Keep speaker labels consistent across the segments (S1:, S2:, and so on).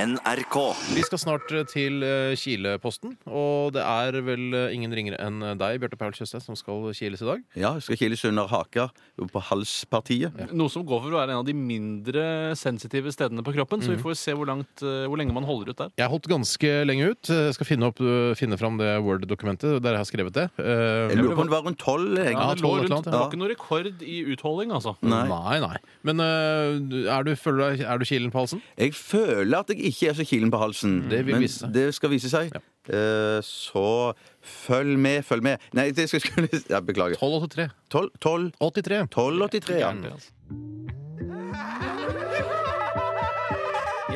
S1: NRK.
S2: Vi skal snart til eh, Kileposten, og det er vel eh, ingen ringere enn deg, Bjarte Paul Tjøstheim, som skal kiles i dag.
S3: Ja, jeg skal kiles under haka på halspartiet.
S4: Noe som går for å være en av de mindre sensitive stedene på kroppen.
S2: Mm.
S4: Så vi får se hvor, langt, eh, hvor lenge man holder ut der.
S2: Jeg har holdt ganske lenge ut. Jeg skal finne, opp, eh, finne fram det Word-dokumentet der jeg har skrevet det. Eh,
S3: Jeg lurer på om det var rundt tolv. jeg.
S4: Ja, det,
S2: tolv
S4: lå
S2: og et eller
S4: rundt,
S2: annet,
S4: det
S2: ja.
S4: var ikke noe rekord i utholding, altså.
S3: Nei.
S2: Nei, nei. Men eh, du- er du, føler du, deg- er du kilen på halsen?
S3: Jeg føler at jeg ikke er så kilen på halsen.
S2: Det vil
S3: men
S2: vise seg.
S3: det skal vise seg. Eh, så følg med, følg med. Nei, det skal skulle ja, Beklager.
S2: 1283.
S3: 12, 12,
S2: 83.
S3: 12,83, ja.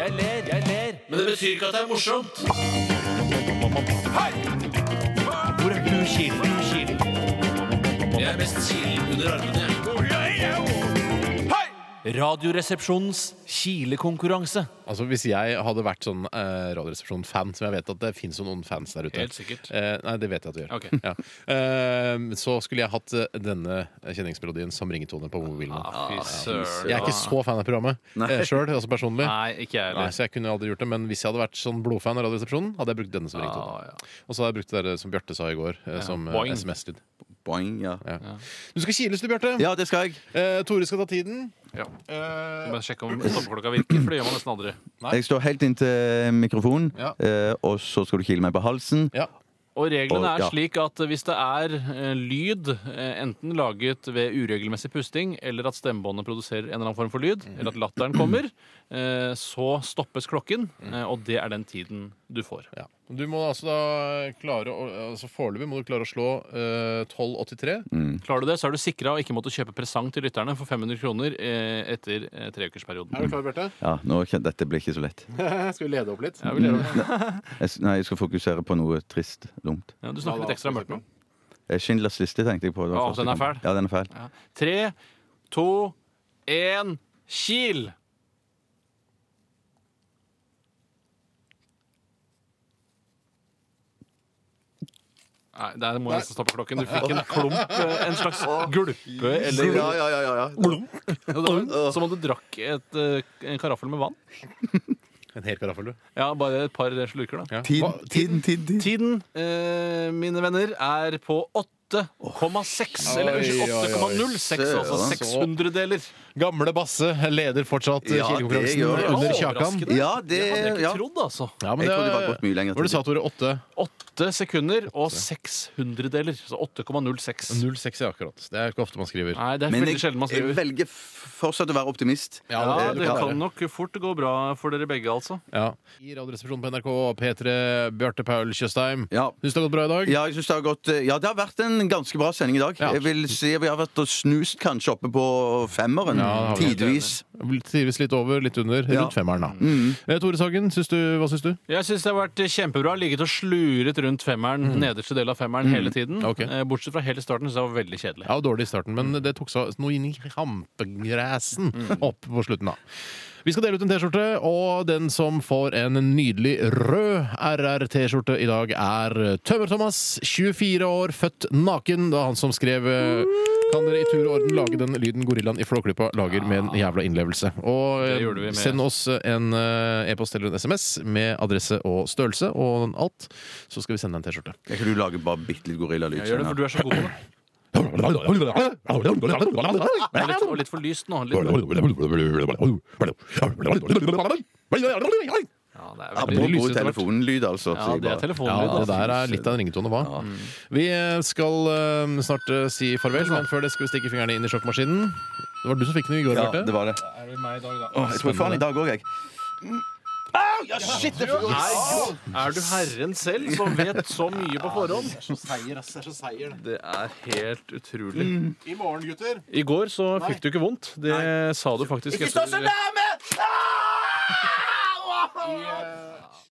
S5: Jeg ler, jeg ler, men det betyr ikke at det er morsomt. Hvor er du kilen? Jeg er mest kilen under armene.
S4: Radioresepsjonens kilekonkurranse.
S2: Altså, Hvis jeg hadde vært sånn eh, Radioresepsjon-fan, som jeg vet at det fins noen fans der ute
S4: Helt sikkert.
S2: Eh, Nei, det vet jeg at du gjør.
S4: Ok.
S2: Ja. Eh, så skulle jeg hatt eh, denne kjenningsmelodien som ringetone på mobilen.
S4: Ah, fy søren.
S2: jeg er ikke så fan av programmet eh, sjøl, altså personlig.
S4: Nei, ikke jeg
S2: Nei,
S4: heller.
S2: så jeg kunne aldri gjort det, Men hvis jeg hadde vært sånn blodfan av Radioresepsjonen, hadde jeg brukt denne som ringtone.
S4: Ah, ja.
S2: Og så hadde jeg brukt det der som Bjarte sa i går, eh, som eh,
S4: boing.
S2: SMS-lyd.
S3: Boing, ja.
S2: Ja. Du skal kiles, du, Bjarte.
S3: Ja, det skal jeg.
S2: Eh, Tore skal ta tiden.
S4: Ja.
S2: Eh,
S4: Bare sjekke om stoppeklokka virker, for det gjør man nesten aldri.
S3: Jeg står helt inntil mikrofonen,
S2: Ja.
S3: eh, og så skal du kile meg på halsen.
S2: ja.
S4: Og reglene
S3: Og-
S4: er
S3: ja.
S4: slik at hvis det er eh, lyd, eh, enten laget ved uregelmessig pusting, eller at stemmebåndet produserer en eller annen form for lyd, eller at latteren kommer, eh, så stoppes klokken, eh, og det er den tiden du får.
S2: Ja. Du må altså da klare å altså Foreløpig må du klare å slå eh, 12,83.
S3: Mm.
S4: Klarer du det, så er du sikra å ikke måtte kjøpe presang til lytterne for 500 kroner eh, etter eh, treukersperioden.
S2: Er du klar, Bjarte?
S3: Ja, nå, kjen- Dette blir ikke så lett.
S2: Eh, Skal vi lede opp litt?
S4: Ja, vi ler av det.
S3: Jeg, s- nei, jeg skal fokusere på noe trist. Dumt.
S4: ja, du snakker litt ekstra mørkt nå.
S3: Eh, Schindlers liste tenkte jeg på. Det var
S4: Å,
S3: første
S4: den er
S3: gang.
S4: fæl.
S3: Ja, den er fæl.
S4: Ja. Tre, to, én, kil! Nei, der må jeg nesten stoppe klokken. Du fikk en klump, eh, en slags gulpe eller
S3: Ja, ja, ja, ja, ja.
S4: Som om du drakk et, eh, en karaffel med vann.
S2: En hel karaffel, du.
S4: Ja, bare et par slurker, da.
S2: Ja.
S3: Tiden,
S2: Hva-
S3: tiden, tiden, tiden.
S4: Tiden, eh, mine venner, er på 8,6. Eller
S2: Oi,
S4: unnskyld,
S2: oi, oi.
S4: 8,06. Altså
S3: Søren.
S4: 600-deler.
S2: Gamle Basse leder fortsatt eh,
S3: Ja, det
S2: kilekonkurransen
S3: gjør det.
S2: under Kjakan.
S4: Overraskende.
S3: Ja, det
S4: Det hadde jeg
S3: ja.
S4: ikke trodd, altså.
S2: Ja,
S3: Jeg trodde det var gått mye lenger.
S2: Hvor du sa, Tore? 8?
S4: Åtte sekunder og 600 deler. Så 8,06.
S2: 06 er akkurat. Det er ikke ofte man skriver.
S4: Nei, det er
S3: Men
S4: veldig
S3: jeg,
S4: sjelden man
S3: jeg
S4: skriver.
S3: velger f- fortsatt å være optimist.
S2: Ja,
S4: Ja,
S3: Eh,
S4: det
S3: kan-
S4: kan nok fort gå bra for dere begge, altså.
S2: Ja. I Radioresepsjonen på NRK, P3, Bjarte Paul Tjøstheim.
S3: Ja.
S2: Syns det har gått bra i dag?
S3: Ja, jeg synes det har gått eh, Ja, det har vært en ganske bra sending i dag.
S2: Ja.
S3: Jeg vil si Vi har vært og snust kanskje oppe på femmeren.
S2: Ja, det har vi.
S3: tidvis.
S2: Trives litt over, litt under.
S3: Ja. Mm.
S2: Rundt femmeren, da. Eh, Tore Sagen, syns du, hva syns du?
S4: Jeg syns det har vært kjempebra. Ligget og sluret rundt femmeren, nederste del av femmeren, hele tiden.
S2: Ok.
S4: Eh, Bortsett fra helt i starten, så det var veldig kjedelig.
S2: Ja, dårlig i starten, men det tok seg noe inn i rampegræsen
S4: Mm.
S2: opp på slutten, da. Vi skal dele ut en T-skjorte, og den som får en nydelig rød RR-T-skjorte i dag, er Tømmer-Thomas, 24 år, født naken. Det er han som skrev eh, Kan dere i tur og orden lage den lyden gorillaen i Flåklypa lager med en jævla innlevelse? Og
S4: Det
S2: eh,
S4: gjorde vi med-
S2: send oss en eh, e-post eller en SMS med adresse og størrelse og alt, så skal vi sende deg en T-skjorte.
S3: Kan ikke du lage bare bitte litt gorillalyd?
S4: Jeg gjør det, for du er så god på det. Og litt, og litt for lyst nå. Litt.
S2: Ja,
S4: Ja, det er veldig
S2: blir
S3: Apropos
S2: lysete hvert.
S3: telefonlyd, altså.
S4: Ja,
S3: sier jeg
S4: det er
S3: bare.
S4: telefonlyd.
S2: det der er litt av en ringetone, hva? Mm. Vi skal eh, snart eh, si farvel, men før det skal vi stikke fingrene inn i sjokkmaskinen. Det var du som fikk den i går,
S3: Ja,
S2: Bjarte.
S3: det var det. Åh, jeg tror jeg får den i dag òg, jeg. Au! Ja, shit! Det er
S4: Er du herren selv som vet så mye på forhånd? Det er helt utrolig.
S2: I morgen, gutter.
S4: I går så fikk du ikke vondt. Det sa du faktisk etter-
S3: nærme!